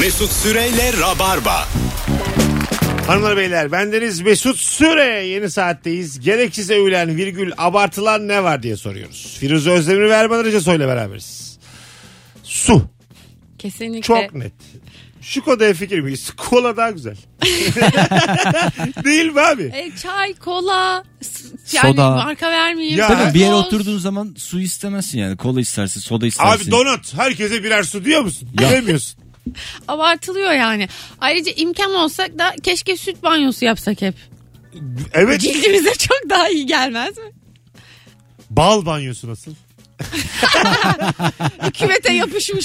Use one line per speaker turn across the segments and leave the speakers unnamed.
Mesut Süreyle Rabarba.
Hanımlar beyler bendeniz Mesut Süre yeni saatteyiz. Gereksiz övülen virgül abartılan ne var diye soruyoruz. Firuze Özdemir ve Erman Arıca soyla beraberiz. Su
Kesinlikle.
çok net. Şu konuda fikir miyiz? Kola daha güzel. Değil mi abi?
E, çay, kola, s- yani
Soda.
marka vermeyeyim.
Ya.
Tabii bir yere
Gazoz.
oturduğun zaman su istemezsin yani. Kola istersin, soda istersin.
Abi donut herkese birer su diyor musun? Demiyorsun.
Abartılıyor yani. Ayrıca imkan olsak da keşke süt banyosu yapsak hep.
Evet
Cildimize çok daha iyi gelmez mi?
bal banyosu nasıl?
Kümete yapışmış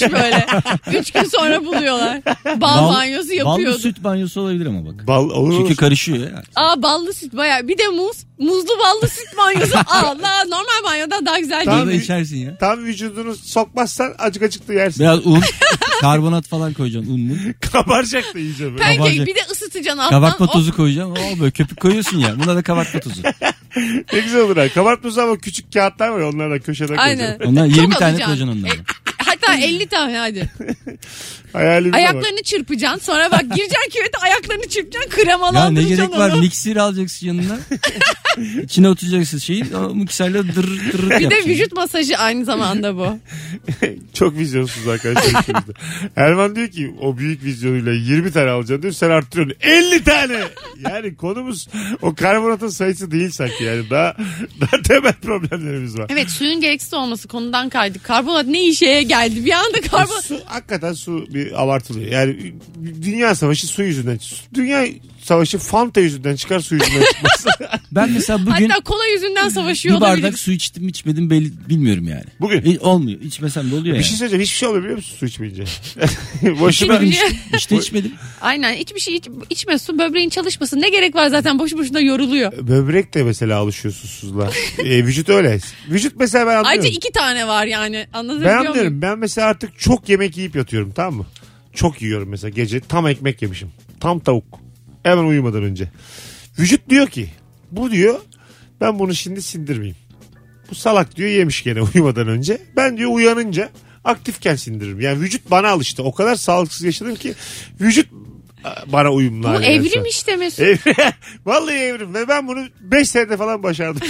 böyle. Üç gün sonra buluyorlar. Bal, banyosu
Ballı
yapıyordu.
süt banyosu olabilir ama bak.
Bal olur
Çünkü
olur.
karışıyor ya.
Aa ballı süt bayağı. Bir de muz. Muzlu ballı süt banyosu. Allah normal banyodan daha güzel
Tamam.
değil.
Orada
bir-
içersin ya.
Tam vücudunu sokmazsan acık acıklı yersin.
Biraz un, karbonat falan koyacaksın. Un mu?
Kabaracak da iyice böyle.
Pancake
Kabarcık.
bir de ısıtacaksın alttan.
Kabartma
Hop,
tozu koyacaksın. Oo böyle köpük koyuyorsun ya. Buna da kabartma tozu.
Ne güzel olur ha. Kabartması ama küçük kağıtlar var ya onları da köşeden
Aynen.
koyacağım.
Onlar
Çok
20 tane
alacaksın.
koyacaksın onları.
Hatta 50 tane hadi.
Hayalimize bak.
Ayaklarını çırpacaksın. Sonra bak gireceksin küvete ayaklarını çırpacaksın.
Ya ne
Kremalandıracaksın
gerek var?
onu.
Miksir alacaksın yanına. İçine oturacaksın şeyi. O mikserle dır dır
Bir de vücut masajı aynı zamanda bu.
Çok vizyonsuz arkadaşlar. ikimiz de. Erman diyor ki o büyük vizyonuyla 20 tane alacaksın diyor. Sen arttırıyorsun. 50 tane. Yani konumuz o karbonatın sayısı değil sanki. Yani daha, daha temel problemlerimiz var.
Evet suyun gereksiz olması konudan kaydık. Karbonat ne işe geldi? Bir anda karbonat...
Su hakikaten su bir abartılıyor. Yani dünya savaşı su yüzünden. Dünya savaşı Fanta yüzünden çıkar su yüzünden çıkmaz.
Ben mesela bugün
Hatta kola yüzünden savaşıyor
bir bardak
olabiliriz.
su içtim içmedim belli, bilmiyorum yani.
Bugün.
E, olmuyor. İçmesem de oluyor
bir
yani.
şey söyleyeceğim. Hiçbir şey olmuyor biliyor musun su içmeyince? Boşuna.
Hiçbir şey-
İşte içmedim.
Aynen hiçbir şey iç- içme su böbreğin çalışmasın. Ne gerek var zaten boşu boşuna yoruluyor.
Böbrek de mesela alışıyor susuzluğa. E, vücut öyle. Vücut mesela ben anlıyorum.
Ayrıca iki tane var yani anlatabiliyor
Ben
muyum?
anlıyorum. Ben mesela artık çok yemek yiyip yatıyorum tamam mı? Çok yiyorum mesela gece. Tam ekmek yemişim. Tam tavuk. Hemen uyumadan önce. Vücut diyor ki bu diyor ben bunu şimdi sindirmeyeyim. Bu salak diyor yemiş gene uyumadan önce. Ben diyor uyanınca aktifken sindiririm. Yani vücut bana alıştı. O kadar sağlıksız yaşadım ki vücut a, bana uyumlu.
Bu
haline geldi
evrim
sonra.
işte
E-
Mesut.
Evrim. Vallahi evrim ve ben bunu 5 senede falan başardım.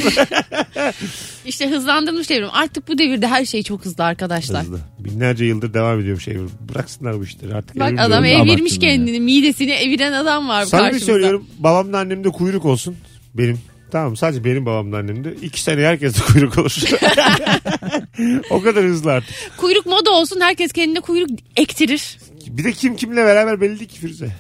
İşte hızlandırılmış evrim. Artık bu devirde her şey çok hızlı arkadaşlar.
Hızlı. Binlerce yıldır devam ediyormuş evrim. Bıraksınlar bu işleri artık.
Bak
evrim
adam
diyorum.
evirmiş
Abarttın ya.
kendini. Midesini eviren adam var
Sana bir
karşımızda.
söylüyorum babamla annemde kuyruk olsun benim. Tamam sadece benim babamla annemde. iki sene herkeste kuyruk olur. o kadar hızlı artık.
Kuyruk moda olsun herkes kendine kuyruk ektirir.
Bir de kim kimle beraber belli değil ki Firuze.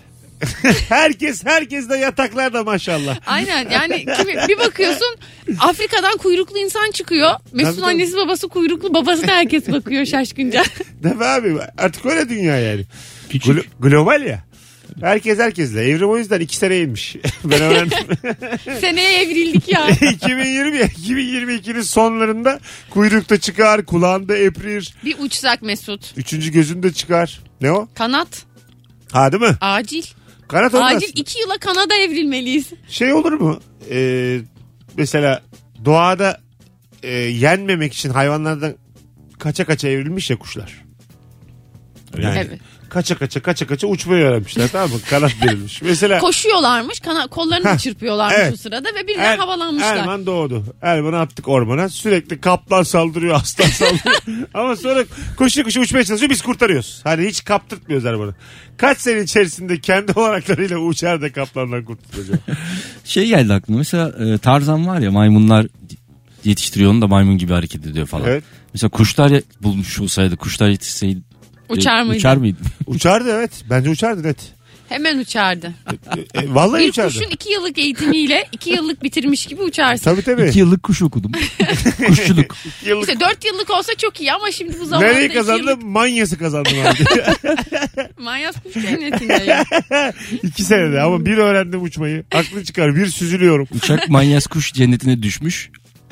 herkes herkes de yataklarda maşallah.
Aynen yani kimi, bir bakıyorsun Afrika'dan kuyruklu insan çıkıyor.
Tabii,
Mesut'un
tabii.
annesi babası kuyruklu babasına herkes bakıyor şaşkınca.
Değil mi abi? Artık öyle dünya yani.
Küçük.
Glo- global ya. Herkes herkesle. Evrim o yüzden iki sene inmiş. ben öğrendim.
Seneye evrildik ya.
2020 ya, 2022'nin sonlarında kuyrukta çıkar, kulağında eprir,
Bir uçsak Mesut.
üçüncü gözünde çıkar. Ne o?
Kanat
Ha değil mi?
acil.
Kanat olmaz.
Acil iki yıla Kanada evrilmeliyiz.
Şey olur mu? Ee, mesela doğada e, yenmemek için hayvanlardan kaça kaça evrilmiş ya kuşlar. Yani
Evet.
kaça kaça kaça kaça uçmayı öğrenmişler tamam mı? Kanat verilmiş. Mesela
Koşuyorlarmış kana, kollarını da çırpıyorlarmış
evet.
o sırada ve birden
Er-
havalanmışlar.
Erman doğdu. Erman'ı attık ormana. Sürekli kaplan saldırıyor, aslan saldırıyor. Ama sonra koşu koşu uçmaya çalışıyor. Biz kurtarıyoruz. Hani hiç kaptırtmıyoruz Erman'ı. Kaç sene içerisinde kendi olanaklarıyla uçar da kaplandan kurtulacak.
Şey geldi aklıma mesela e, Tarzan var ya maymunlar yetiştiriyor onu da maymun gibi hareket ediyor falan.
Evet.
Mesela kuşlar ye- bulmuş olsaydı kuşlar yetişseydi
Uçar mıydı?
E, Uçar mıydı?
uçardı evet. Bence uçardı net.
Hemen uçardı.
E, e, vallahi
Bir
uçardı.
kuşun iki yıllık eğitimiyle iki yıllık bitirmiş gibi uçarsın.
Tabii tabii.
İki yıllık kuş okudum. Kuşçuluk.
yıllık.
İşte dört yıllık olsa çok iyi ama şimdi bu zamanda
Nereyi
iki
kazandı?
yıllık
Manyası kazandım abi.
manyas kuş cennetinde ya.
İki senede ama bir öğrendim uçmayı. Aklı çıkar bir süzülüyorum.
Uçak manyas kuş cennetine düşmüş.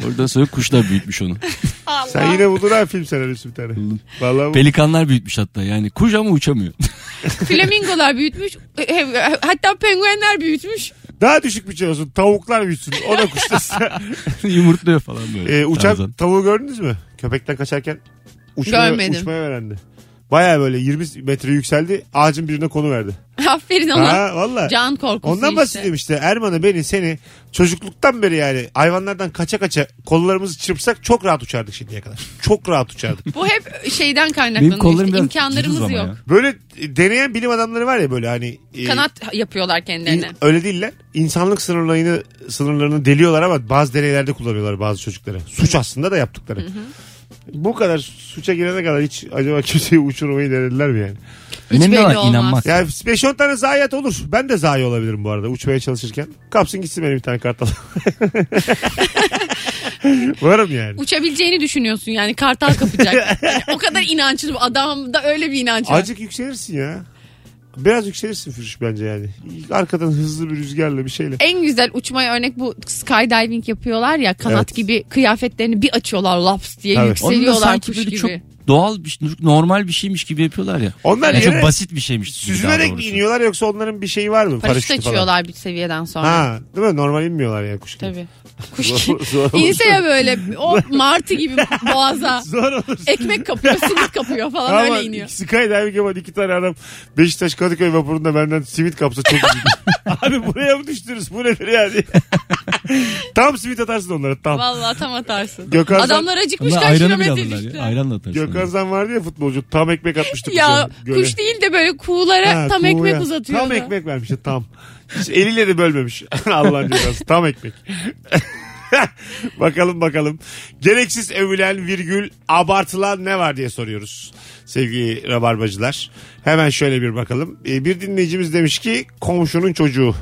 Oradan sonra kuşlar büyütmüş onu.
Allah.
Sen yine buldun ha film senaryosu bir tane. Vallahi bu-
Pelikanlar büyütmüş hatta yani. Kuş ama uçamıyor.
Flamingolar büyütmüş. e, e, Hatta penguenler büyütmüş.
Daha düşük bir şey olsun. Tavuklar büyüsün. O da kuşlasın.
Yumurtluyor falan böyle.
e, uçan
Tarzan.
tavuğu gördünüz mü? Köpekten kaçarken uçmayı,
Görmedim.
uçmayı öğrendi. Baya böyle 20 metre yükseldi. Ağacın birine konu verdi.
Aferin ona.
Ha valla.
Can korkusu
Ondan
işte.
bahsediyorum işte. Erman'ı beni seni çocukluktan beri yani hayvanlardan kaça kaça kollarımızı çırpsak çok rahat uçardık şimdiye kadar. Çok rahat uçardık.
Bu hep şeyden
Benim
kaynaklanıyor.
kollarım
İşte
biraz
imkanlarımız
cılız ama
yok.
ya.
Böyle e, deneyen bilim adamları var ya böyle hani. e,
Kanat yapıyorlar
in-
kendilerine.
öyle değiller. İnsanlık sınırlarını, sınırlarını deliyorlar ama bazı deneylerde kullanıyorlar bazı çocukları. Suç aslında da yaptıkları. Bu kadar suça girene kadar hiç acaba kimseyi uçurmayı denediler mi yani?
Önemli
belli
olan
olmaz.
inanmak.
Ya 5-10 tane zayiat olur. Ben de zayi olabilirim bu arada uçmaya çalışırken. Kapsın gitsin beni bir tane kartal. Varım yani.
Uçabileceğini düşünüyorsun yani kartal kapacak. Yani o kadar inançlı bu adamda öyle bir inanç var.
Acık yükselirsin ya. Biraz yükselirsin Firuş bence yani. Arkadan hızlı bir rüzgarla bir şeyle.
En güzel uçmaya örnek bu skydiving yapıyorlar ya kanat
Evet.
gibi kıyafetlerini bir açıyorlar laps diye
Tabii.
Onu da
yükseliyorlar
sanki
kuş
böyle
gibi.
çok doğal bir normal bir şeymiş gibi yapıyorlar ya.
Onlar
Yani
yere
çok basit bir şeymiş. gibi daha
süzülerek mi
doğrusu.
iniyorlar yoksa onların bir şeyi var mı?
Paraşüt
Paraşütü falan.
açıyorlar bir seviyeden sonra.
Ha, değil mi? Normal inmiyorlar yani kuş gibi.
Tabii. Kuş gibi.
Zor-
İnse ya böyle o martı gibi boğaza.
Zor olur.
Ekmek kapıyor, simit kapıyor falan
Ama
öyle iniyor.
skydiving yapan iki tane adam Beşiktaş Kadıköy vapurunda benden simit kapsa çok üzüldüm. Abi buraya mı düştünüz? Bu nedir yani? tam simit atarsın onlara tam.
Vallahi tam atarsın.
Gökhan,
Adamlar acıkmış
Onlar
kaç
ayranı bile
kilometre
alırlar
düştü.
ya. Ayranla atarsın.
Gökhan Zan vardı ya futbolcu tam ekmek atmıştı.
Ya
kucağına. Göle.
kuş değil de böyle kuğulara
Ha,
tam
kuğuya.
ekmek uzatıyor.
Tam ekmek vermiş ya, tam. Hiç eliyle de bölmemiş. Allah'ın cezası tam ekmek. bakalım bakalım. Gereksiz övülen virgül abartılan ne var diye soruyoruz. Sevgili rabarbacılar. Hemen şöyle bir bakalım. Ee, bir dinleyicimiz demiş ki komşunun çocuğu.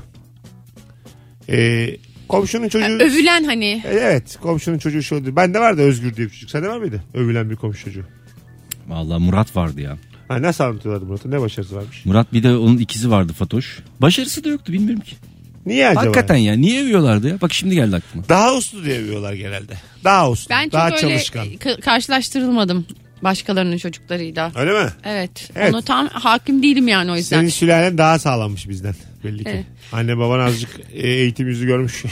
Ee, komşunun çocuğu. E,
Övülen hani.
Evet komşunun çocuğu şöyle. Bende vardı Özgür diye bir çocuk. Sende var mıydı? Övülen bir komşu çocuğu.
Valla Murat vardı ya.
Ha, nasıl anlatıyorlardı Murat'a? Ne başarısı varmış?
Murat bir de onun ikizi vardı Fatoş. Başarısı da yoktu bilmiyorum ki.
Niye acaba?
Hakikaten ya niye övüyorlardı ya? Bak şimdi geldi aklıma.
Daha uslu diye övüyorlar genelde. Daha uslu.
Ben çok
daha
öyle
çalışkan.
ka- karşılaştırılmadım başkalarının çocuklarıyla.
Öyle mi?
Evet.
Evet.
Onu tam hakim değilim yani o yüzden.
Senin sülalen daha sağlammış bizden belli ki.
Evet.
Anne baban azıcık e, eğitim yüzü görmüş.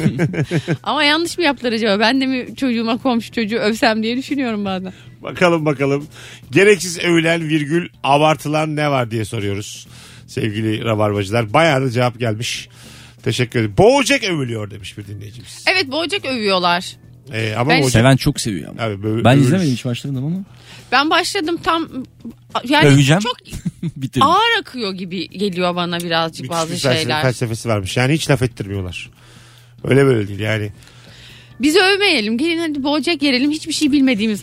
Ama yanlış mı yaptılar acaba? Ben de mi çocuğuma komşu çocuğu övsem diye düşünüyorum bazen.
bakalım bakalım. Gereksiz övülen virgül abartılan ne var diye soruyoruz. Sevgili rabarbacılar bayağı da cevap gelmiş. Teşekkür ederim. Boğacak övülüyor demiş bir dinleyicimiz.
Evet boğacak övüyorlar.
E, ama
Ben-
boğacak-
Seven çok seviyor ama.
Abi, bö-
ben
övülür.
izlemedim hiç başlamadım ama.
Ben başladım tam yani
Öveceğim.
çok
Bitirdim.
ağır akıyor gibi geliyor bana birazcık
Müthiş
bazı
bir felsefe-
şeyler.
felsefesi varmış. Yani hiç laf ettirmiyorlar. Öyle böyle değil yani.
Bizi övmeyelim. Gelin hadi boğacak yerelim. Hiçbir şey bilmediğimiz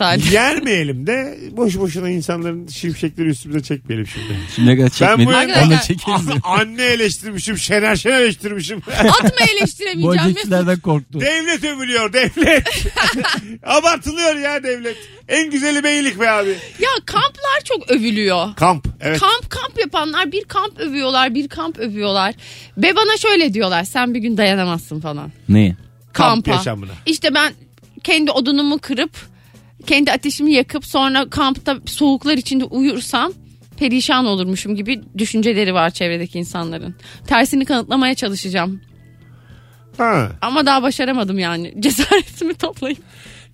halde.
Yermeyelim de boş boşuna insanların şimşekleri üstümüze çekmeyelim şimdi.
Şimdiye kadar çekmedim.
bu
yana-
Onu da
Arkadaşlar-
çekeriz. ya.
An- Anne eleştirmişim, Şener Şen eleştirmişim.
Atma eleştiremeyeceğim. Mesut.
Boğacakçılardan korktu.
devlet övülüyor, devlet. Abartılıyor ya devlet. En güzeli beylik be abi.
Ya kamplar çok övülüyor.
Kamp, evet.
Kamp kamp yapanlar bir kamp övüyorlar bir kamp övüyorlar. Ve bana şöyle diyorlar sen bir gün dayanamazsın falan.
Ne?
Kamp
Kampa.
yaşamına.
İşte ben kendi odunumu kırıp kendi ateşimi yakıp sonra kampta soğuklar içinde uyursam perişan olurmuşum gibi düşünceleri var çevredeki insanların. Tersini kanıtlamaya çalışacağım.
Ha.
Ama daha başaramadım yani. Cesaretimi toplayıp.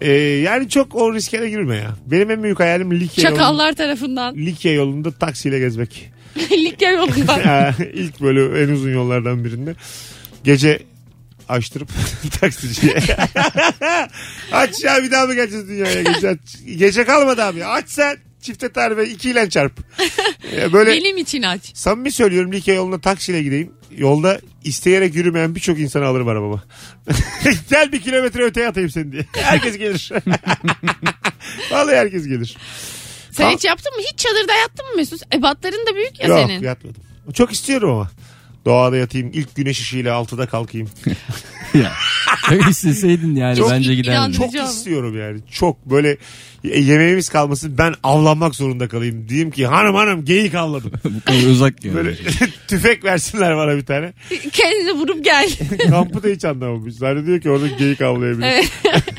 Ee, yani çok o riske de girme ya. Benim en büyük hayalim Likya yolunda,
Çakallar tarafından.
Likya yolunda taksiyle gezmek.
Likya yolunda.
Ha, İlk böyle en uzun yollardan birinde. Gece açtırıp taksiciye. aç ya bir daha mı geleceğiz dünyaya? Gece, aç. Gece kalmadı abi. Aç sen. Çifte tarife iki ile çarp. Ee, Böyle
Benim için aç.
samimi söylüyorum Likya yoluna taksiyle gideyim. Yolda isteyerek yürümeyen birçok insanı alırım arabama. Gel bir kilometre öteye atayım seni diye. Herkes gelir. Vallahi herkes gelir.
Sen
Kamp-
hiç yaptın mı? Hiç çadırda yattın mı Mesut? Ebatların da büyük ya
Yok
senin.
yatmadım. Çok istiyorum ama. Doğada yatayım. ilk güneş ışığıyla altıda kalkayım.
Ya. Öyle isteseydin yani
Çok
bence
in-
gider.
inandırıcı.
Çok
Rica
istiyorum yani. Çok böyle e, yemeğimiz kalmasın ben avlanmak zorunda kalayım. Diyeyim ki hanım hanım geyik avladım.
Bu kadar uzak yani.
Böyle tüfek versinler bana bir tane.
Kendini vurup gel.
Kampı da hiç anlamamış. Zannediyor ki orada geyik avlayabilir.
Evet.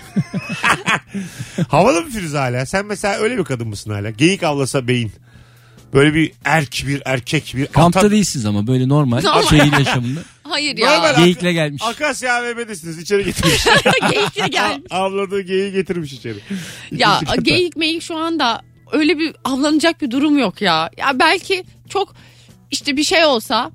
Havalı mı Firuze hala? Sen mesela öyle bir kadın mısın hala? Geyik avlasa beyin. Böyle bir erk bir erkek bir
Kampta
ata-
değilsiniz ama böyle normal,
Normal.
şehir yaşamında.
Hayır
Normal
ya.
ak-
Geyikle gelmiş.
Akasya AVM'desiniz içeri getirmiş.
Geyikle gel.
Avladığı geyiği getirmiş içeri.
Ya
İkinci kata.
geyik meyik şu anda öyle bir avlanacak bir durum yok ya. Ya belki çok işte bir şey olsa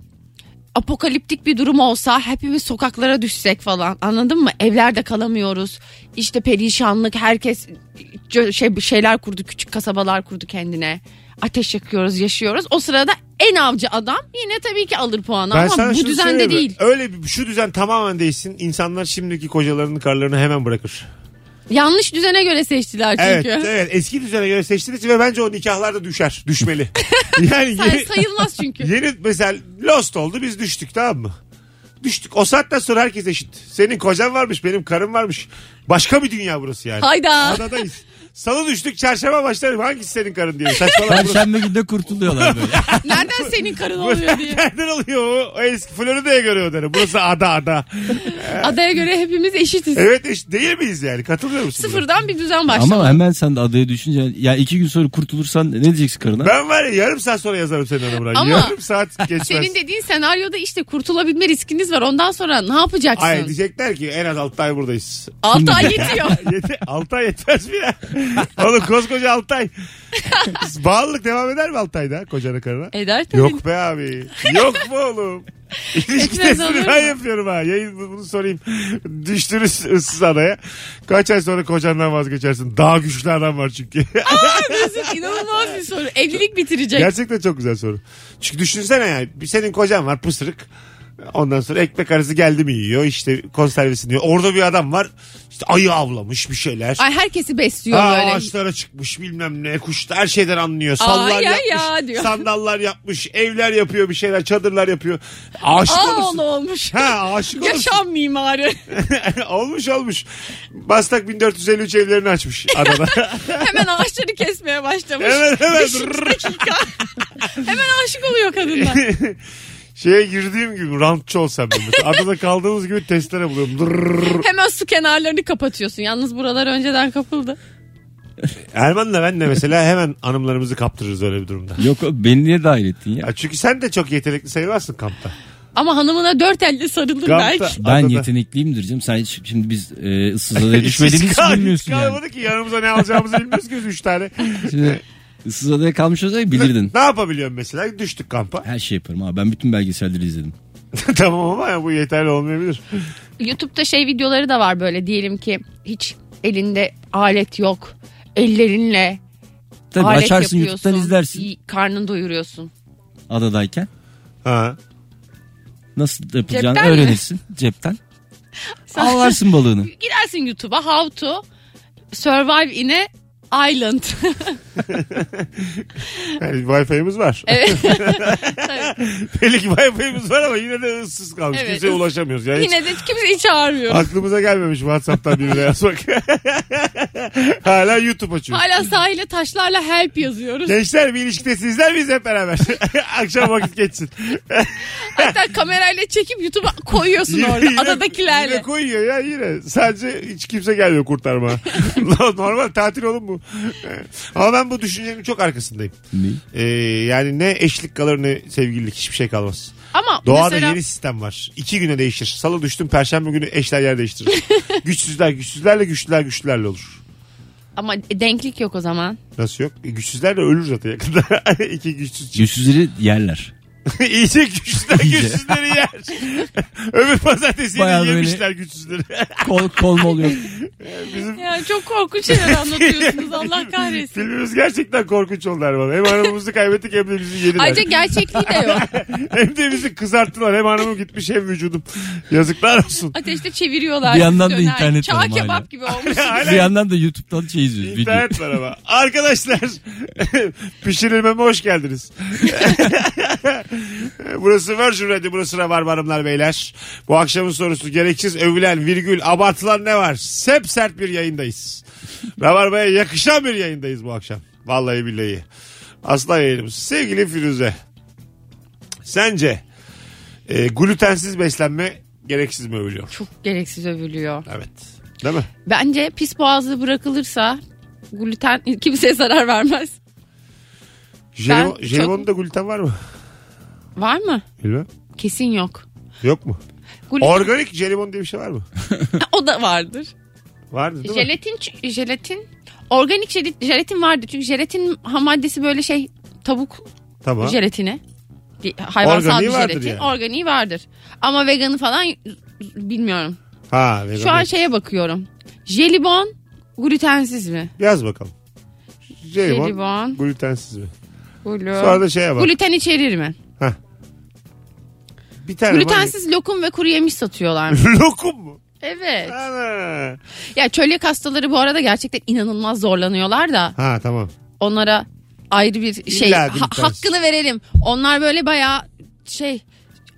apokaliptik bir durum olsa hepimiz sokaklara düşsek falan anladın mı? Evlerde kalamıyoruz. İşte perişanlık herkes co- şey şeyler kurdu küçük kasabalar kurdu kendine. Ateş yakıyoruz yaşıyoruz. O sırada en avcı adam yine tabii ki alır puanı
Ben sana
ama bu
şunu
düzende
söyleyeyim mi?
değil.
Öyle bir, şu düzen tamamen değişsin. İnsanlar şimdiki kocalarını karlarını hemen bırakır.
Yanlış düzene göre seçtiler
Evet,
çünkü.
evet. Eski düzene göre seçtiğiniz için ve bence o nikahlar da düşer. Düşmeli. yani
Sen
yeni,
sayılmaz çünkü.
yeni mesela Lost oldu biz düştük tamam mı? Düştük. O saatten sonra herkes eşit. Senin kocan varmış, benim karım varmış. Başka bir dünya burası yani.
Hayda.
Adadayız. Salı düştük, çarşamba başlarım. Hangisi senin karın diye. Saçmalama burası.
Perşembe günde kurtuluyorlar böyle.
Nereden senin karın oluyor diye.
Nereden oluyor o? O eski Florida'ya göre o derim. Burası ada ada.
Adaya göre hepimiz eşitiz.
Evet eşit değil miyiz yani? Katılıyor musun? buna?
Sıfırdan bir düzen başladı.
Ama hemen sen de adaya düşünce ya iki gün sonra kurtulursan ne diyeceksin karına?
Ben var ya yarım saat sonra yazarım senin adamına.
Ama
yarım saat geçmez.
Senin dediğin senaryoda işte kurtulabilme riskiniz var. Ondan sonra ne yapacaksın?
Ay diyecekler ki en az 6 ay buradayız.
6 ay yetiyor.
Yete, 6 ay yetmez mi ya? Oğlum koskoca 6 ay. Bağlılık devam eder mi 6 ayda kocana karına?
Eder E, tabii.
Yok be abi. Yok mu oğlum? İlişki
Etmez
testini
olur
ben
mu?
yapıyorum ha. Yayın bunu sorayım. Düştünüz ıssız adaya. Kaç ay sonra kocandan vazgeçersin? Daha güçlü adam var çünkü.
Mesut, İnanılmaz bir soru. Evlilik bitirecek.
Gerçekten çok güzel soru. Çünkü düşünsene yani bir senin kocan var pısırık. Ondan sonra ekmek arası geldi mi yiyor işte konservesini yiyor. Orada bir adam var işte ayı avlamış bir şeyler.
Ay herkesi besliyor
Aa,
böyle.
ağaçlara çıkmış bilmem ne kuş her şeyden anlıyor. Sallar
Ay, ay,
yapmış,
ya diyor.
sandallar yapmış, evler yapıyor bir şeyler, çadırlar yapıyor. Aşık
Aa
olursun.
oğlu olmuş.
Ha aşık olursun.
Yaşam mimarı.
olmuş olmuş. Bastak 1453 evlerini açmış adada.
hemen ağaçları kesmeye başlamış.
Hemen, hemen.
Beşinci dakika. hemen aşık oluyor kadınlar.
Şeye girdiğim gibi rantçı olsam ben. mesela. Adada kaldığımız gibi testere buluyorum. Dırrrr.
Hemen su kenarlarını kapatıyorsun. Yalnız buralar önceden kapıldı.
Erman'la ben de mesela hemen anımlarımızı kaptırırız öyle bir durumda.
Yok oğlum, beni niye dahil ettin ya?
Ya çünkü sen de çok yetenekli sayılmazsın kampta.
Ama hanımına dört elle sarılır
Kampta
belki.
Ben
adada.
yetenekliyimdir canım. Sen hiç- şimdi biz e, ıssız adaya düşmediğimiz
Hiç
için
kal-
bilmiyorsun
hiç
yani.
Kalmadı ki yanımıza ne alacağımızı bilmiyoruz ki biz üç tane.
Şimdi ıssız adaya kalmış olsaydı bilirdin.
Ne yapabiliyorum mesela? Düştük kampa.
Her şey yaparım abi. Ben bütün belgeselleri izledim.
tamam ama ya bu yeterli olmayabilir.
YouTube'da şey videoları da var böyle diyelim ki hiç elinde alet yok. Ellerinle
Tabii
alet
açarsın
yapıyorsun.
YouTube'dan izlersin
İyi, Karnını doyuruyorsun.
adadayken.
Ha.
Nasıl yapılacağını
Cepten mi?
öğrenirsin cepten.
Sen-
Avlarsın balığını.
Gidersin YouTube'a how to survive in a island.
Yani Wi-Fi'miz var.
Evet.
Belli ki Wi-Fi'miz var ama yine de ıssız kalmış.
Evet,
Kimseye
ıs-
ulaşamıyoruz. Yani hiç
Yine de kimseyi çağırmıyor.
aklımıza gelmemiş WhatsApp'tan birine yazmak. Hala YouTube açıyor.
Hala sahile taşlarla help yazıyoruz.
Gençler bir ilişkide sizler biz hep beraber. Akşam vakit geçsin.
Hatta kamerayla çekip YouTube'a koyuyorsun
Yine-
orada
yine-
adadakilerle.
Yine koyuyor ya yine. Sadece hiç kimse gelmiyor kurtarma. Normal tatil oğlum bu. Ee, Ama ben bu düşüncenin çok arkasındayım.
Ne?
Ee, yani ne eşlik kalır ne sevgililik hiçbir şey kalmaz.
Ama
Doğada
mesela
yeni sistem var. İki güne değişir. Salı düştüm perşembe günü eşler yer değiştirir. güçsüzler güçsüzlerle güçlüler güçlülerle olur.
ama denklik yok o zaman.
Nasıl yok? E, güçsüzler de ölür zaten yakında. İki güçsüz çift.
Yüzsüzleri yerler.
İyice güçsüzler
İyice.
güçsüzleri yer. Öbür pazartesi yine
Bayağı böyle-
yemişler güçsüzleri.
Kol, kol mol yok.
Bizim
Ya çok korkunç şeyler anlatıyorsunuz Allah kahretsin.
filmimiz gerçekten korkunç oldu Erman. Hem hanımımızı kaybettik hem de bizi yediler.
Ayrıca gerçekliği de yok.
Hem de bizi kızarttılar. Hem hanımım gitmiş hem vücudum. Yazıklar olsun.
Ateşte çeviriyorlar.
Bir yandan da
döner.
internet
Çağ
var ama
kebap
hala.
gibi olmuş.
Bir yandan da YouTube'dan şey izliyoruz. video.
İnternet var ama. Arkadaşlar pişirilmeme hoş geldiniz. burası Virgin Radio burası Rabarba Hanımlar Beyler. Bu akşamın sorusu gereksiz övülen virgül abartılan ne var? Sep sert bir yayındayız. Rabarba'ya yakışan bir yayındayız bu akşam. Vallahi billahi. Aslan yayınımız. Sevgili Firuze. Sence e, glutensiz beslenme gereksiz mi övülüyor?
Çok gereksiz övülüyor.
Evet. Değil mi?
Bence pis boğazlı bırakılırsa gluten kimseye zarar vermez.
Jelibon,
çok-
jelibonda gluten var mı?
Var mı?
Bilmem.
Kesin yok.
Yok mu?
Gluten,
Organik jelibon diye bir şey var mı?
o da vardır.
Vardı değil mi?
Jelatin ç- jelatin Organik jeli- jelatin vardı çünkü jelatin ham maddesi böyle şey tavuk
Tamam.
jelatini. Di- Hayvansal
Organiği
bir
vardır
jelatin.
yani.
Organiği vardır. Ama veganı falan y- bilmiyorum.
Ha, vegan
Şu an şey-
yok.
şeye bakıyorum. Jelibon glutensiz mi?
Yaz bakalım. Jelibon,
Jelibon.
glutensiz mi?
Glu-
Sonra da şey şeye bak.
Gluten içerir mi?
bir tane
Glutensiz lokum ve kuru yemiş satıyorlar.
var. Lokum mu?
evet.
Ana.
Ya çölyak hastaları bu arada gerçekten inanılmaz zorlanıyorlar da
Ha tamam.
onlara ayrı bir şey
İlla
ha-
glutensiz.
hakkını verelim. Onlar böyle bayağı şey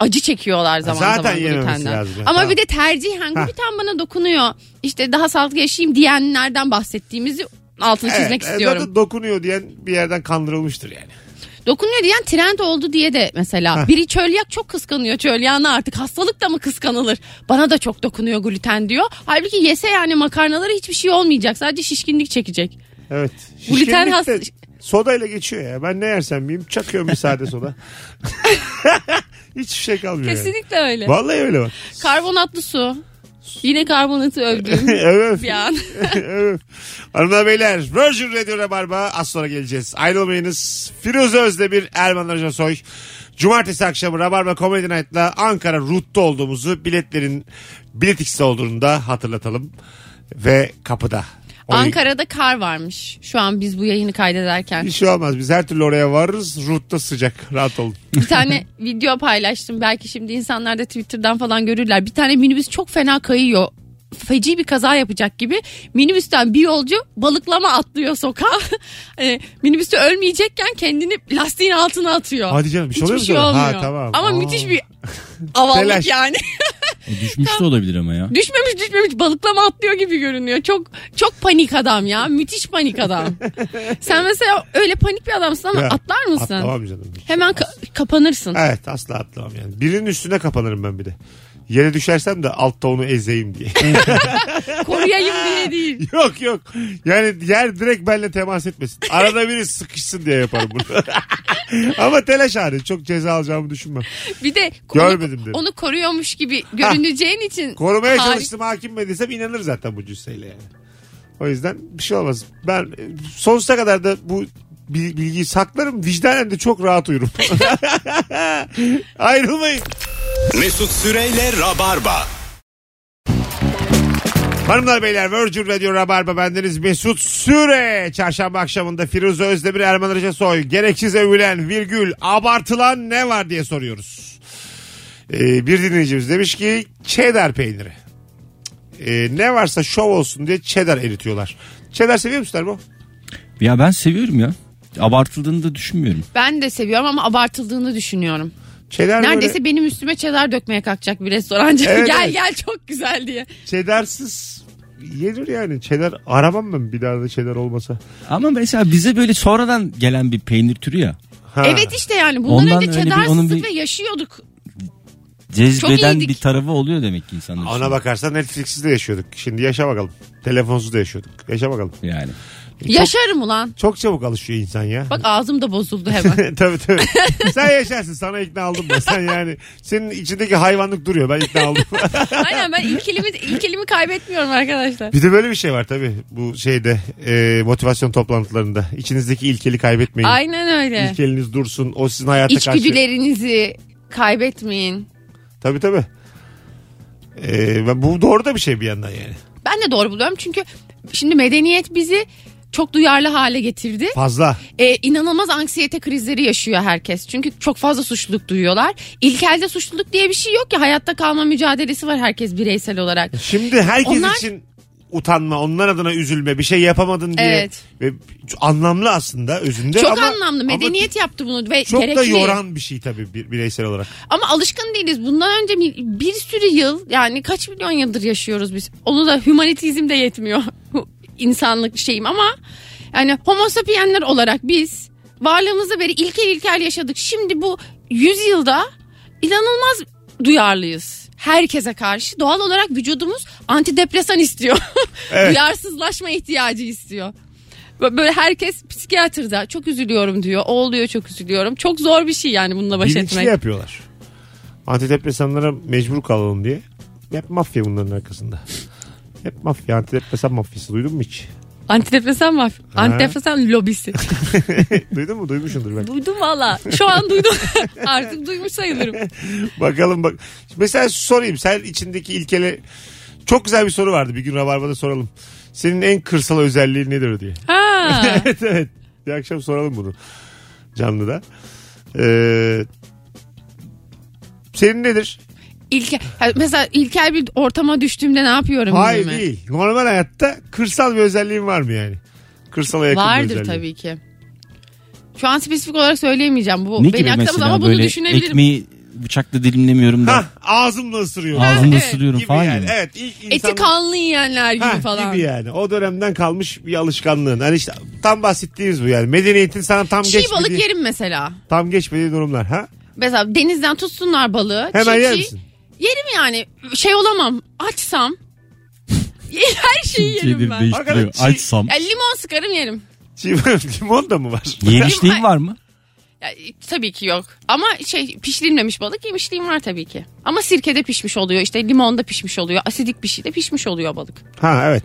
acı çekiyorlar zaman
zaten
zaman
yememesi
glutenden.
lazım yani.
Ama
Tamam.
bir de tercihen
Ha.
gluten bana dokunuyor. İşte daha sağlıklı yaşayayım diyenlerden bahsettiğimizi altını çizmek
Evet, e,
istiyorum.
Zaten dokunuyor diyen bir yerden kandırılmıştır yani.
Dokunuyor diyen trend oldu diye de mesela.
Ha.
Biri çölyak çok kıskanıyor çölyağını artık. Hastalık da mı kıskanılır? Bana da çok dokunuyor gluten diyor. Halbuki yese yani makarnalara hiçbir şey olmayacak. Sadece şişkinlik çekecek.
Evet.
Gluten
Şişkinlik
has-
de Sodayla geçiyor ya. Ben ne yersem yiyeyim çakıyorum bir sade soda. Hiçbir şey kalmıyor yani.
Kesinlikle öyle.
Vallahi öyle bak.
Karbonatlı su. Yine karbonatı övdüğüm
evet.
bir an.
evet. Hanımlar beyler Virgin Radio Rabarba az sonra geleceğiz. Ayrılmayınız. Firuze Özdemir, Erman Arıca Soy. Cumartesi akşamı Rabarba Comedy Night'la Ankara Root'ta olduğumuzu biletlerin bilet X'te olduğunu da hatırlatalım. Ve kapıda. Oraya-
Ankara'da kar varmış. Şu an biz bu yayını kaydederken.
Bir şey olmaz. Biz her türlü oraya varırız. Root'ta sıcak. Rahat olun.
Bir tane video paylaştım. Belki şimdi insanlar da Twitter'dan falan görürler. Bir tane minibüs çok fena kayıyor. Feci bir kaza yapacak gibi. Minibüsten bir yolcu balıklama atlıyor sokağa. Hani minibüste ölmeyecekken kendini lastiğin altına atıyor.
Hadi canım, bir şey
Hiçbir
oluyor mu
şey
sana?
olmuyor.
Ha, tamam.
Ama
Aa.
müthiş bir avallık
Telaş.
yani.
E, düşmüş de olabilir ama ya.
Düşmemiş düşmemiş balıklama atlıyor gibi görünüyor. Çok çok panik adam ya. Müthiş panik adam. Sen mesela öyle panik bir adamsın ama
Ya,
atlar mısın?
Atlamam canım.
Hemen ka- kapanırsın.
Evet asla atlamam yani. Birinin üstüne kapanırım ben bir de. Yere düşersem de altta onu ezeyim diye.
Koruyayım diye değil.
Yok yok. Yani yer direkt benimle temas etmesin. Arada biri sıkışsın diye yaparım bunu. Ama telaş hariç çok ceza alacağımı düşünmem.
Bir de
Görmedim dedim.
onu, onu koruyormuş gibi görüneceğin için.
Korumaya
Harika.
çalıştım hakim mi desem inanır zaten bu cüsseyle yani. O yüzden bir şey olmaz. Ben e, sonsuza kadar da bu bil- bilgiyi saklarım. Vicdanen de çok rahat uyurum. Ayrılmayın.
Mesut Süreyle Rabarba.
Hanımlar beyler Virgin Radio Rabarba bendeniz Mesut Süre. Çarşamba akşamında Firuze Özdemir Erman Arıca Soy. Gereksiz övülen virgül abartılan ne var diye soruyoruz. Ee, bir dinleyicimiz demiş ki cheddar peyniri. Ee, ne varsa şov olsun diye cheddar eritiyorlar. Cheddar seviyor musunlar bu?
Ya ben seviyorum ya. Abartıldığını da düşünmüyorum.
Ben de seviyorum ama abartıldığını düşünüyorum.
Cheddar
Neredeyse
Hani böyle
benim üstüme çedar dökmeye kalkacak bir restorancı.
Evet,
gel
evet.
gel çok güzel diye.
cheddarsız yenir yani. Cheddar aramam ben bir daha da cheddar olmasa.
Ama mesela bize böyle sonradan gelen bir peynir türü ya.
Ha.
Evet işte yani bundan
Ondan
önce
öyle bir-
çedarsızlık
onun bir-
ve yaşıyorduk. Çok
Cezbeden
iyiydik.
bir tarafı oluyor demek ki insanın.
Ona bakarsan Netflix'siz de yaşıyorduk. Şimdi yaşa bakalım. Telefonsuz da yaşıyorduk. Yaşa bakalım.
Yani.
Yaşarım ulan.
Çok çabuk alışıyor insan ya.
Bak ağzım da bozuldu hemen.
tabii tabii. Sen yaşarsın. Sana ikna oldum ben. Sen yani senin içindeki hayvanlık duruyor. Ben ikna oldum.
Aynen ben ilkelimi, ilkelimi kaybetmiyorum arkadaşlar.
bir de böyle bir şey var tabii. Bu şeyde e, motivasyon toplantılarında. İçinizdeki ilkeli kaybetmeyin.
Aynen öyle.
İlkeliniz dursun. O sizin hayata karşı.
İçgüdülerinizi kaybetmeyin.
Tabii tabii. E, ben- bu doğru da bir şey bir yandan yani.
Ben de doğru buluyorum çünkü şimdi medeniyet bizi çok duyarlı hale getirdi.
Fazla.
Ee, inanılmaz anksiyete krizleri yaşıyor herkes. Çünkü çok fazla suçluluk duyuyorlar. İlkelde suçluluk diye bir şey yok ya. Hayatta kalma mücadelesi var herkes bireysel olarak.
Şimdi herkes
Onlar-
için utanma, onlar adına üzülme, bir şey yapamadın diye.
Evet.
Ve anlamlı aslında özünde
Çok
ama-
anlamlı.
ama
Medeniyet yaptı bunu ve
çok
gerekli.
da yoran bir şey tabii bir- bireysel olarak.
Ama alışkın değiliz. Bundan önce mi- bir sürü yıl yani kaç milyon yıldır yaşıyoruz biz. Onu da hümanitizm de yetmiyor. İnsanlık şeyim ama yani homo sapienler olarak biz varlığımızı beri ilkel ilkel yaşadık. Şimdi bu yüzyılda inanılmaz duyarlıyız. Herkese karşı doğal olarak vücudumuz antidepresan istiyor.
Evet.
Duyarsızlaşma ihtiyacı istiyor. Bö- Böyle herkes psikiyatrda çok üzülüyorum diyor. O oluyor çok üzülüyorum. Çok zor bir şey yani bununla baş
Bilinçli
etmek.
yapıyorlar. Antidepresanlara mecbur kalalım diye. Hep mafya bunların arkasında. Hep mafya, antidepresan mafyası duydun mu hiç?
Antidepresan var. Antidepresan lobisi.
Duydun mu? Duymuşsundur belki.
duydum valla. Şu an duydum. Artık duymuş sayılırım.
Bakalım bak. Mesela sorayım sen içindeki ilkele çok güzel bir soru vardı bir gün Rabarba'da soralım. Senin en kırsal özelliğin nedir diye.
Ha.
evet evet. Bir akşam soralım bunu. Canlıda. Ee, senin nedir?
İlke, Ha, mesela ilkel bir ortama düştüğümde ne yapıyorum?
Hayır
bilmem.
değil. Normal hayatta kırsal bir özelliğin var mı yani? Kırsala yakın bir
Vardır
özelliğin.
tabii ki. Şu an spesifik olarak söyleyemeyeceğim. Bu
Ne
beni
gibi
aklamaz
mesela
ama bunu
böyle
düşünebilirim.
ekmeği bıçakla dilimlemiyorum da
Hah ağzımla ısırıyorum.
ağzımda
evet.
sürüyorum
Gibi
falan
yani.
gibi.
Evet ilk
Eti
insanlar-
kanlı yiyenler gibi
Hah,
falan.
gibi yani. O dönemden kalmış bir alışkanlığın. Hani işte tam bahsettiğimiz bu yani. Medeniyetin sana tam
Çiğ balık
geçmediği,
yerim mesela.
tam geçmediği durumlar. Ha?
Mesela denizden tutsunlar balığı.
Hemen
çiğ
yer
çiğ.
misin?
Yerim yani. Şey olamam. Açsam. Her şeyi yerim ben.
değiştiriyor.
Hakikaten çiğ-
Açsam.
Ya limon sıkarım yerim.
Çiğ limon da mı var?
Yemişliğin var mı?
Ya, E, tabii ki yok. Ama şey pişirilmemiş balık yemişliğim var tabii ki. Ama sirkede pişmiş oluyor. işte limonda pişmiş oluyor. Asidik bir şeyde pişmiş oluyor balık.
Ha evet.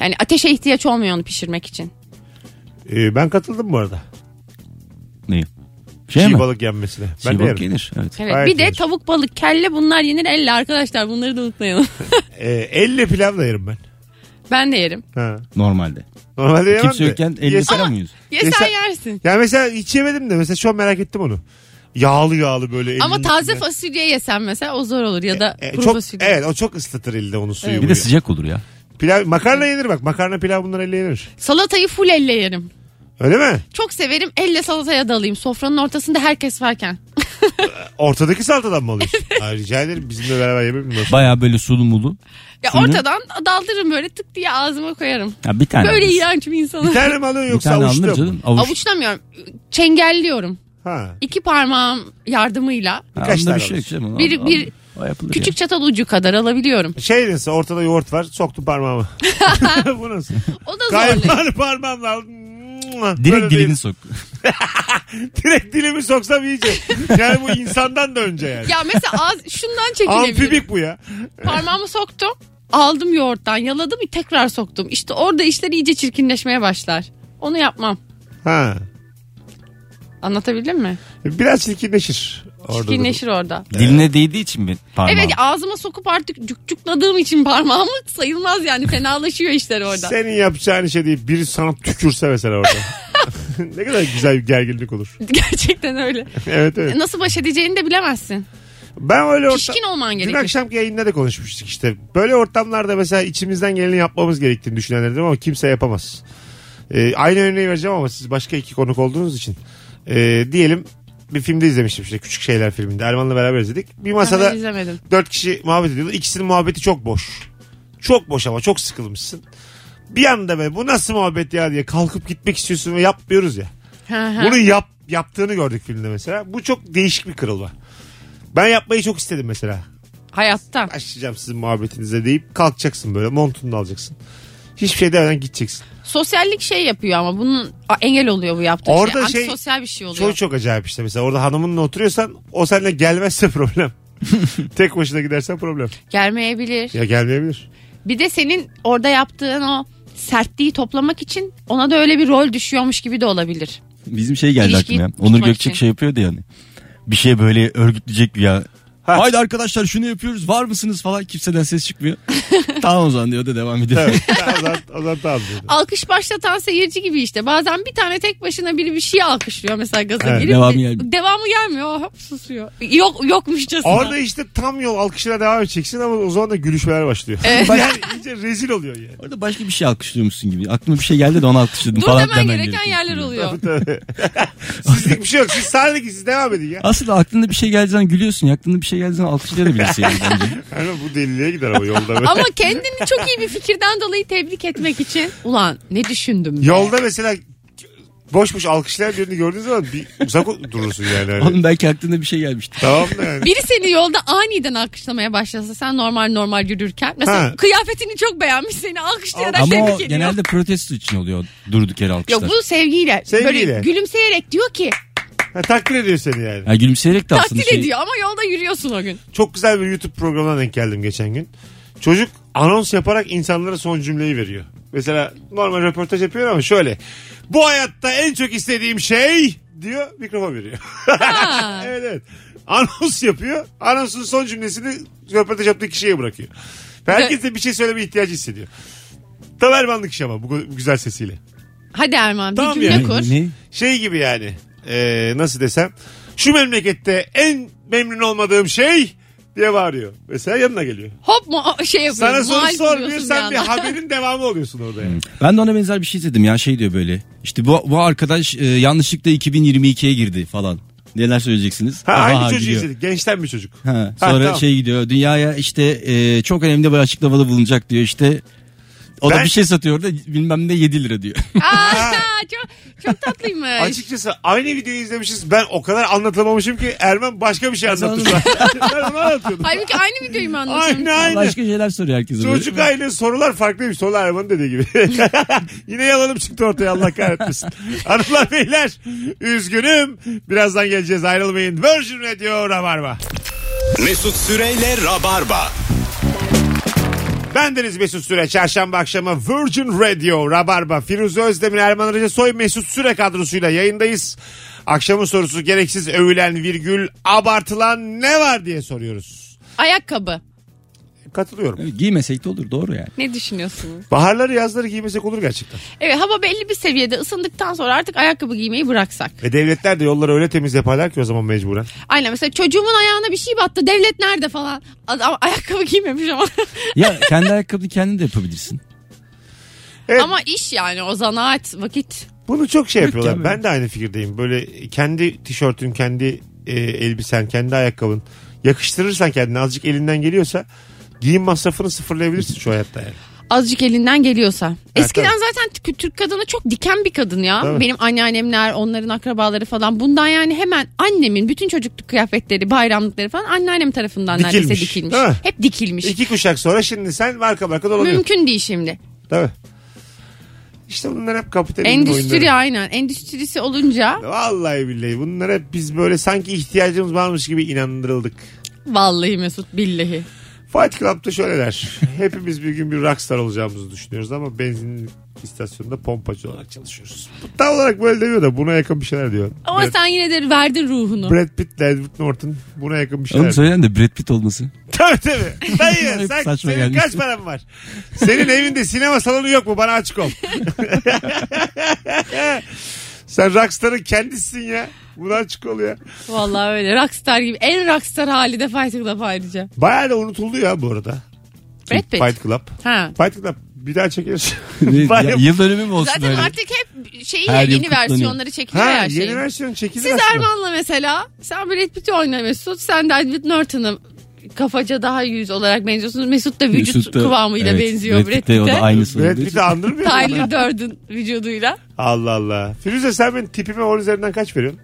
Yani ateşe ihtiyaç olmuyor onu pişirmek için.
Ee, ben katıldım bu arada.
Neyi? Şey
çiğ
mi?
balık yenmesine. ben
Çiğ
de
balık
yerim.
gelir. Evet.
Evet.
Gayet
Hani bir de
iyidir.
tavuk, balık, kelle bunlar yenir elle arkadaşlar. Bunları da unutmayalım.
Ee, elle pilav da yerim ben.
ben de yerim.
Ha.
Normalde.
Normalde yemem
E, Kimse
de.
yokken elle
Yesem-
saramıyoruz.
Yesen
Yesen-
yersin.
Ya mesela hiç yemedim de mesela şu an merak ettim onu. Yağlı yağlı böyle.
Ama
elinin
taze
içinde.
fasulye yesen mesela o zor olur ya da
E,
kuru
çok,
fasulye.
Evet o çok ıslatır elde onun suyu.
Bir de
buyu.
sıcak olur ya.
Pilav, makarna yenir bak. Makarna pilav bunlar elle yenir.
Salatayı full elle yerim.
Öyle mi?
Çok severim elle salataya dalayım sofranın ortasında herkes varken.
Ortadaki salatadan mı alıyorsun? Ay, rica ederim bizimle beraber yemeyelim mi?
Baya böyle sulu mulu.
Ya
Suyunu-
ortadan daldırırım böyle tık diye ağzıma koyarım.
Ya bir tane
Böyle
alırız.
iğrenç bir
Bir
insanım.
tane mi alıyorsun
Bir
yoksa
tane alınır
avuçta mı?
canım. Avuç.
Avuçlamıyorum. Çengelliyorum.
Ha.
İki parmağım yardımıyla.
Ha,
Birkaç
onda
tane
bir şey yok canım.
Bir-
Al-
bir-
al- o yapılır
Küçük çatal ucu kadar alabiliyorum.
Şey neyse ortada yoğurt var soktum parmağımı. Bu nasıl?
O da zorluyor.
Kaymağı parmağımla aldım.
ya. Direkt
Böyle
dilini
değil.
sok.
Direkt dilimi soksam iyice. Yani bu insandan da önce yani.
Ya mesela ağız şundan çekilebilir.
Amfibik bu ya.
Parmağımı soktum. Aldım yoğurttan yaladım tekrar soktum. İşte orada işler iyice çirkinleşmeye başlar. Onu yapmam.
Ha.
Anlatabildim mi?
Biraz çirkinleşir. Orada da.
Çirkinleşir orada.
Diline değdiği için mi parmağım?
Evet ağzıma sokup artık cukcukladığım için parmağımı sayılmaz yani fenalaşıyor işler orada.
Senin yapacağın işe değil biri sana tükürse mesela orada. ne kadar güzel bir gerginlik olur.
Gerçekten öyle. E,
Evet evet.
Nasıl baş edeceğini de bilemezsin.
Ben öyle orta...
Pişkin olman
Dün
gerekir.
akşamki yayında da konuşmuştuk işte. Böyle ortamlarda mesela içimizden geleni yapmamız gerektiğini düşünenlerdim ama kimse yapamaz. Ee, aynı örneği vereceğim ama siz başka iki konuk olduğunuz için. Ee, diyelim bir filmde izlemiştim işte Küçük Şeyler filminde. Erman'la beraber izledik. Bir
Ben
masada
izlemedim.
dört kişi muhabbet ediyorlar. İkisinin muhabbeti çok boş. Çok boş ama çok sıkılmışsın. Bir anda be bu nasıl muhabbet ya diye kalkıp gitmek istiyorsun ve yapmıyoruz ya.
Ha, ha.
Bunu yap yaptığını gördük filmde mesela. Bu çok değişik bir kırılma. Ben yapmayı çok istedim mesela
Hayatta.
başlayacağım sizin muhabbetinize deyip kalkacaksın böyle montunu da alacaksın. Hiçbir şey demeden gideceksin.
Sosyallik şey yapıyor ama bunun a, engel oluyor bu yaptığı
Orada
şey.
şey-
Antisosyal bir şey oluyor.
Çok çok acayip işte mesela orada hanımınla oturuyorsan o seninle gelmezse problem. Tek başına gidersen problem.
Gelmeyebilir.
Ya gelmeyebilir.
Bir de senin orada yaptığın o sertliği toplamak için ona da öyle bir rol düşüyormuş gibi de olabilir.
Bizim şey geldi
İlişkiyi
aklıma. ya.
tutmak
Onur Gökçek
için.
şey yapıyordu yani. Bir şey böyle örgütleyecek ya.
Ha.
Haydi arkadaşlar şunu yapıyoruz var mısınız falan kimseden ses çıkmıyor. tamam o zaman diyor da devam ediyor.
Evet. o zaman, o zaman tamam dedi.
Alkış başlatan seyirci gibi işte. Bazen bir tane tek başına biri bir şey alkışlıyor mesela gaza
Evet,
girip.
devamı
de-
gelmiyor.
devamı gelmiyor. Oh, Hop susuyor. Yok yokmuşçasına.
Orada işte tam yol alkışına devam edeceksin ama o zaman da gülüşmeler başlıyor. yani iyice rezil oluyor yani.
Orada başka bir şey alkışlıyormuşsun gibi. Aklıma bir şey geldi de onu alkışladım
Dur
falan.
demen
demen
gereken
gerekiyor.
yerler oluyor.
Sizlik bir şey yok. Siz sadece siz devam edin ya.
Aslında aklında bir şey geldiği zaman gülüyorsun. ya. Aklında bir şey geldiği zaman alkışlayabilirsin yani bence.
Yani bu deliliğe gider ama yolda. böyle.
Ama kendini çok iyi bir fikirden dolayı tebrik etmek için. Ulan ne düşündüm be.
Yolda mesela boş boş alkışlayan birini gördüğün zaman bir uzak durursun yani. Hani.
Onun belki aklında bir şey gelmişti.
Tamam da yani.
Biri seni yolda aniden alkışlamaya başlasa sen normal normal yürürken mesela
Ha.
kıyafetini çok beğenmiş seni alkışlayarak
Ama
tebrik
o
ediyor.
genelde protesto için oluyor durduk yere alkışlar.
Yok bu sevgiyle,
Sevgiyle.
böyle gülümseyerek diyor ki
Ha, takdir ediyor seni yani.
Ya gülümseyerek de aslında
takdir
şey.
ediyor ama yolda yürüyorsun o gün.
Çok güzel bir YouTube programına denk geldim geçen gün. Çocuk anons yaparak insanlara son cümleyi veriyor. Mesela normal röportaj yapıyor ama şöyle. Bu hayatta en çok istediğim şey diyor mikrofon veriyor.
Ha.
evet evet. Anons yapıyor. Anonsun son cümlesini röportaj yaptığı kişiye bırakıyor. Ve Herkes de bir şey söyleme ihtiyacı hissediyor. Tam Ermanlık iş ama bu, bu güzel sesiyle.
Hadi Erman bir
Tamam
cümle
yani.
kur.
Ne?
Şey gibi yani. e, nasıl desem. Şu memlekette en memnun olmadığım şey diye bağırıyor. Mesela yanına geliyor.
Hop mu o- şey yapıyorsun.
Sana soru
muhalif
sormuyor.
oluyorsun
Sen bir
anda.
haberin devamı oluyorsun orada yani.
Ben de ona benzer bir şey izledim ya şey diyor böyle. İşte bu, bu arkadaş e, yanlışlıkla 2022'ye girdi falan. Neler söyleyeceksiniz?
Ha,
Aha,
aynı çocuğu
gidiyor.
izledik. Gençten bir çocuk.
Ha, sonra
tamam.
şey gidiyor dünyaya işte e, çok önemli bir açıklamada bulunacak diyor işte. O da
Ben-
bir şey satıyor da bilmem ne 7 lira diyor.
Aa, çok, çok tatlıymış.
Açıkçası aynı videoyu izlemişiz. Ben o kadar anlatamamışım ki Erman başka bir şey anlattı. ben onu anlatıyordum.
Halbuki aynı videoyu mu anlatıyorsun?
Aynı aynı.
Başka şeyler soruyor herkese. böyle.
Çocuk aynı sorular farklıymış. Sorular Erman'ın dediği gibi. Yine yalanım çıktı ortaya Allah kahretmesin. Hanımlar beyler üzgünüm. Birazdan geleceğiz ayrılmayın. Virgin Radio Rabarba.
Mesut Süreyle Rabarba.
Bendeniz Mesut Süre. Çarşamba akşamı Virgin Radio, Rabarba, Firuze Özdemir, Erman Arıca Soy, Mesut Süre kadrosuyla yayındayız. Akşamın sorusu gereksiz övülen virgül abartılan ne var diye soruyoruz.
Ayakkabı.
Katılıyorum.
Evet, Giymesek de olur doğru yani.
Ne düşünüyorsunuz?
Baharları yazları giymesek olur gerçekten.
Evet hava belli bir seviyede ısındıktan sonra artık ayakkabı giymeyi bıraksak.
Ve devletler de yolları öyle temiz yaparlar ki o zaman mecburen.
Aynen mesela çocuğumun ayağına bir şey battı. Devlet nerede falan. Adam ayakkabı giymemiş ama.
Ya kendi ayakkabını kendin de yapabilirsin.
Evet.
ama iş yani o zanaat vakit.
Bunu çok şey yapıyorlar.
Mükemmel.
Ben de aynı fikirdeyim. Böyle kendi tişörtün, kendi e, elbisen, kendi ayakkabın yakıştırırsan kendine azıcık elinden geliyorsa giyim masrafını sıfırlayabilirsin şu hayatta yani.
Azıcık elinden geliyorsa. Eskiden
tabii.
zaten t- Türk kadını çok diken bir kadın ya.
Tabii.
Benim anneannemler, onların akrabaları falan. Bundan yani hemen annemin bütün çocukluk kıyafetleri, bayramlıkları falan anneannem tarafından neredeyse
Dikilmiş.
dikilmiş.
Ha.
Hep dikilmiş.
İki kuşak sonra şimdi sen marka marka dolanıyorsun.
şey Mümkün değil şimdi.
Tabii. İşte bunlar hep kapitalizmin
Endüstri
oyunları.
aynen. Endüstrisi olunca
Vallahi billahi bunlar hep biz böyle sanki ihtiyacımız varmış gibi inandırıldık.
vallahi Mesut billahi.
Fight Club'da şöyle der. Hepimiz bir gün bir rockstar olacağımızı düşünüyoruz ama benzin istasyonunda pompacı olarak çalışıyoruz. Bu Tam olarak böyle demiyor da buna yakın bir şeyler diyor.
Ama
Brad,
sen yine de verdin ruhunu.
Brad Pitt ile Edward Norton buna yakın bir şeyler.
Oğlum söyleyen de Brad Pitt olması.
Tabii tabii. Dayı
Hep
sen,
saçma
senin
gelmiş.
kaç paran var? Senin evinde sinema salonu yok mu? Bana açık ol. sen rockstarın kendisisin ya. Buna açık ol ya.
Vallahi öyle. Rockstar gibi. En rockstar hali de Fight Club ayrıca.
Bayağı da unutuldu ya bu arada.
Brad Pitt.
Fight Club.
Ha.
Fight Club bir daha çekeriz.
Ya,
Bayağı-
yıl dönümü mü olsun
Zaten
böyle?
artık hep şeyi
Her yıl
yeni
kutlanıyor.
versiyonları çekiliyor
ha,
her
yeni
şeyin.
versiyon çekilir
Siz
aslında.
Erman'la mesela sen Brad Pitt'i oyna Mesut. Sen de Edward Norton'ı kafaca daha yüz olarak benziyorsunuz. Mesut da vücut
Mesut da-
kıvamıyla
evet,
benziyor Brad
de O da
Pitt'e.
aynısı.
Brad Pitt'i andırmıyor mu?
Tyler Durden vücuduyla.
Allah Allah. Firuze sen benim tipime 10 üzerinden kaç veriyorsun?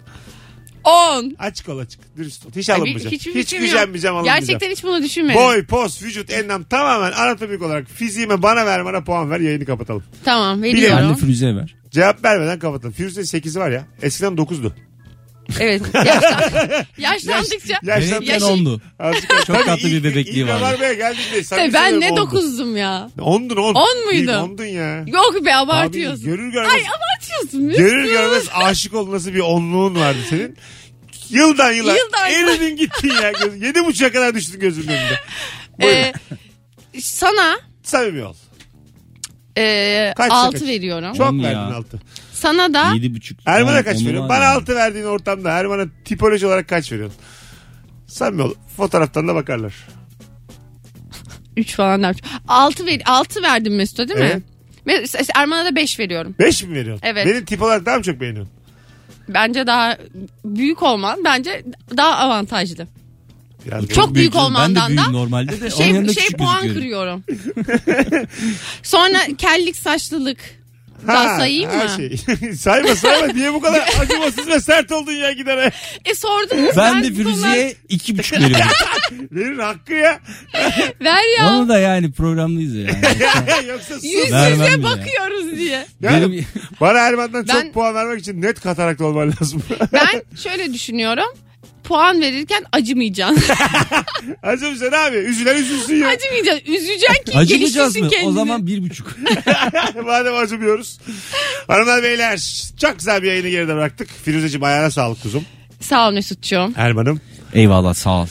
10.
Açık ol açık. Dürüst ol. Hiç
Ay, bir-
alınmayacağım. Hiç,
hiçbir
hiç
fikrim yok.
gücenmeyeceğim alınmayacağım.
Gerçekten hiç bunu düşünmedim.
Boy, poz, vücut, enlem tamamen anatomik olarak fiziğime bana ver bana puan ver yayını kapatalım.
Tamam
Anne
veriyorum.
Firuze'ye ver.
Cevap vermeden kapatalım. Firuze'nin 8'i var ya. Eskiden 9'du.
Evet. yaşlan- Yaşlandıkça.
Yaşlandı.
Benim
Yaşı-
ondu.
Azıcık yaşlandı.
Çok tatlı bir
İlk-
bebekliği
ilk
vardı.
Rabarba'ya geldiğinde
Tabii
samimi
E, ben ne
söylüyorum, ondun.
dokuzdum ya.
Ondun on.
On muydun?
İlk ondun ya.
Yok be abartıyorsun.
Abi, görür görmez,
Ay abartıyorsun Mesut.
görür görmez aşık ol nasıl bir onluğun vardı senin. Yıldan yıla
Yıldan yıla.
eridin gittin ya. Göz- Yedi buçuğa kadar düştün gözümün önünde.
Ee, sana
Samimi ol.
e,
Kaç
6
sakız?
veriyorum.
Çok
On ya.
verdin altı.
Sana da
Yedi buçuk.
Erman'a
Yani
kaç
onu
veriyorsun?
var
Bana
yani.
altı verdiğin ortamda Erman'a tipoloji olarak kaç veriyorsun? Samimi ol. Fotoğraftan da bakarlar.
3 falan der. 6 ver 6 verdim Mesut'a değil
Evet.
mi? Mes- Erman'a da 5 veriyorum.
Beş mi veriyorsun?
Evet.
Benim tip olarak daha mı çok beğeniyorsun?
Bence daha büyük olman bence daha avantajlı.
Biraz
Çok büyük
canım.
olmandan
Ben de
da
büyüğüm normalde de. onun
Şey,
yanında
şey
küçük
puan
gözüküyorum.
kırıyorum. Sonra kellik saçlılık daha sayayım
her
mı?
şey. sayma sayma. Niye bu kadar acımasız ve sert oldun ya gidene?
E sordun mu?
Ben de
bu konular-
Firuze'ye iki buçuk veriyorum.
Verir hakkı ya.
Ver ya.
Onu da yani programlıyız ya yani.
Yoksa sus.
Yüz
Vermem
yüze
ya.
bakıyoruz diye.
Yani
Benim-
bana Erman'dan çok
Ben-
puan vermek için net kataraklı olman lazım.
Ben şöyle düşünüyorum. puan verirken acımayacaksın.
Acımsın abi. Üzülen üzülsün ya.
acımayacaksın. Üzeceksin ki
Acımayacağız mı?
geliştirsin kendini.
O zaman bir buçuk.
Madem acımıyoruz. Hanımlar beyler çok güzel bir yayını geride bıraktık. Firuzeciğim ayağına sağlık kuzum.
Sağ ol Mesut'cuğum.
Erman'ım.
Eyvallah sağ ol.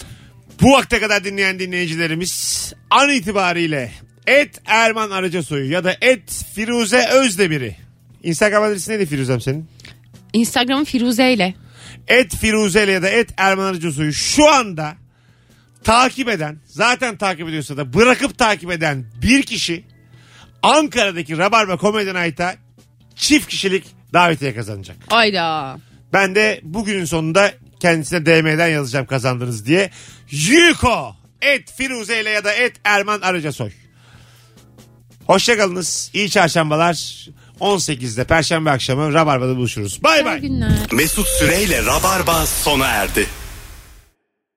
Bu vakte kadar dinleyen dinleyicilerimiz an itibariyle et Erman Arıcasoy'u ya da et Firuze Özdemir'i. Instagram adresi neydi Firuzem senin?
Instagram'ın Firuze ile.
Et Firuze ile ya da et Erman Arıcasoy'u şu anda takip eden zaten takip ediyorsa da bırakıp takip eden bir kişi Ankara'daki Rabarba Comedy Night'a çift kişilik davetiye kazanacak.
Ayda.
Ben de bugünün sonunda kendisine DM'den yazacağım kazandınız diye. Yuko et Firuze ile ya da et Erman Arıcasoy. Hoşçakalınız. İyi çarşambalar. 18'de Perşembe akşamı Rabarba'da buluşuruz. Bay
Bay
bay.
günler.
Mesut Süreyle Rabarba sona erdi.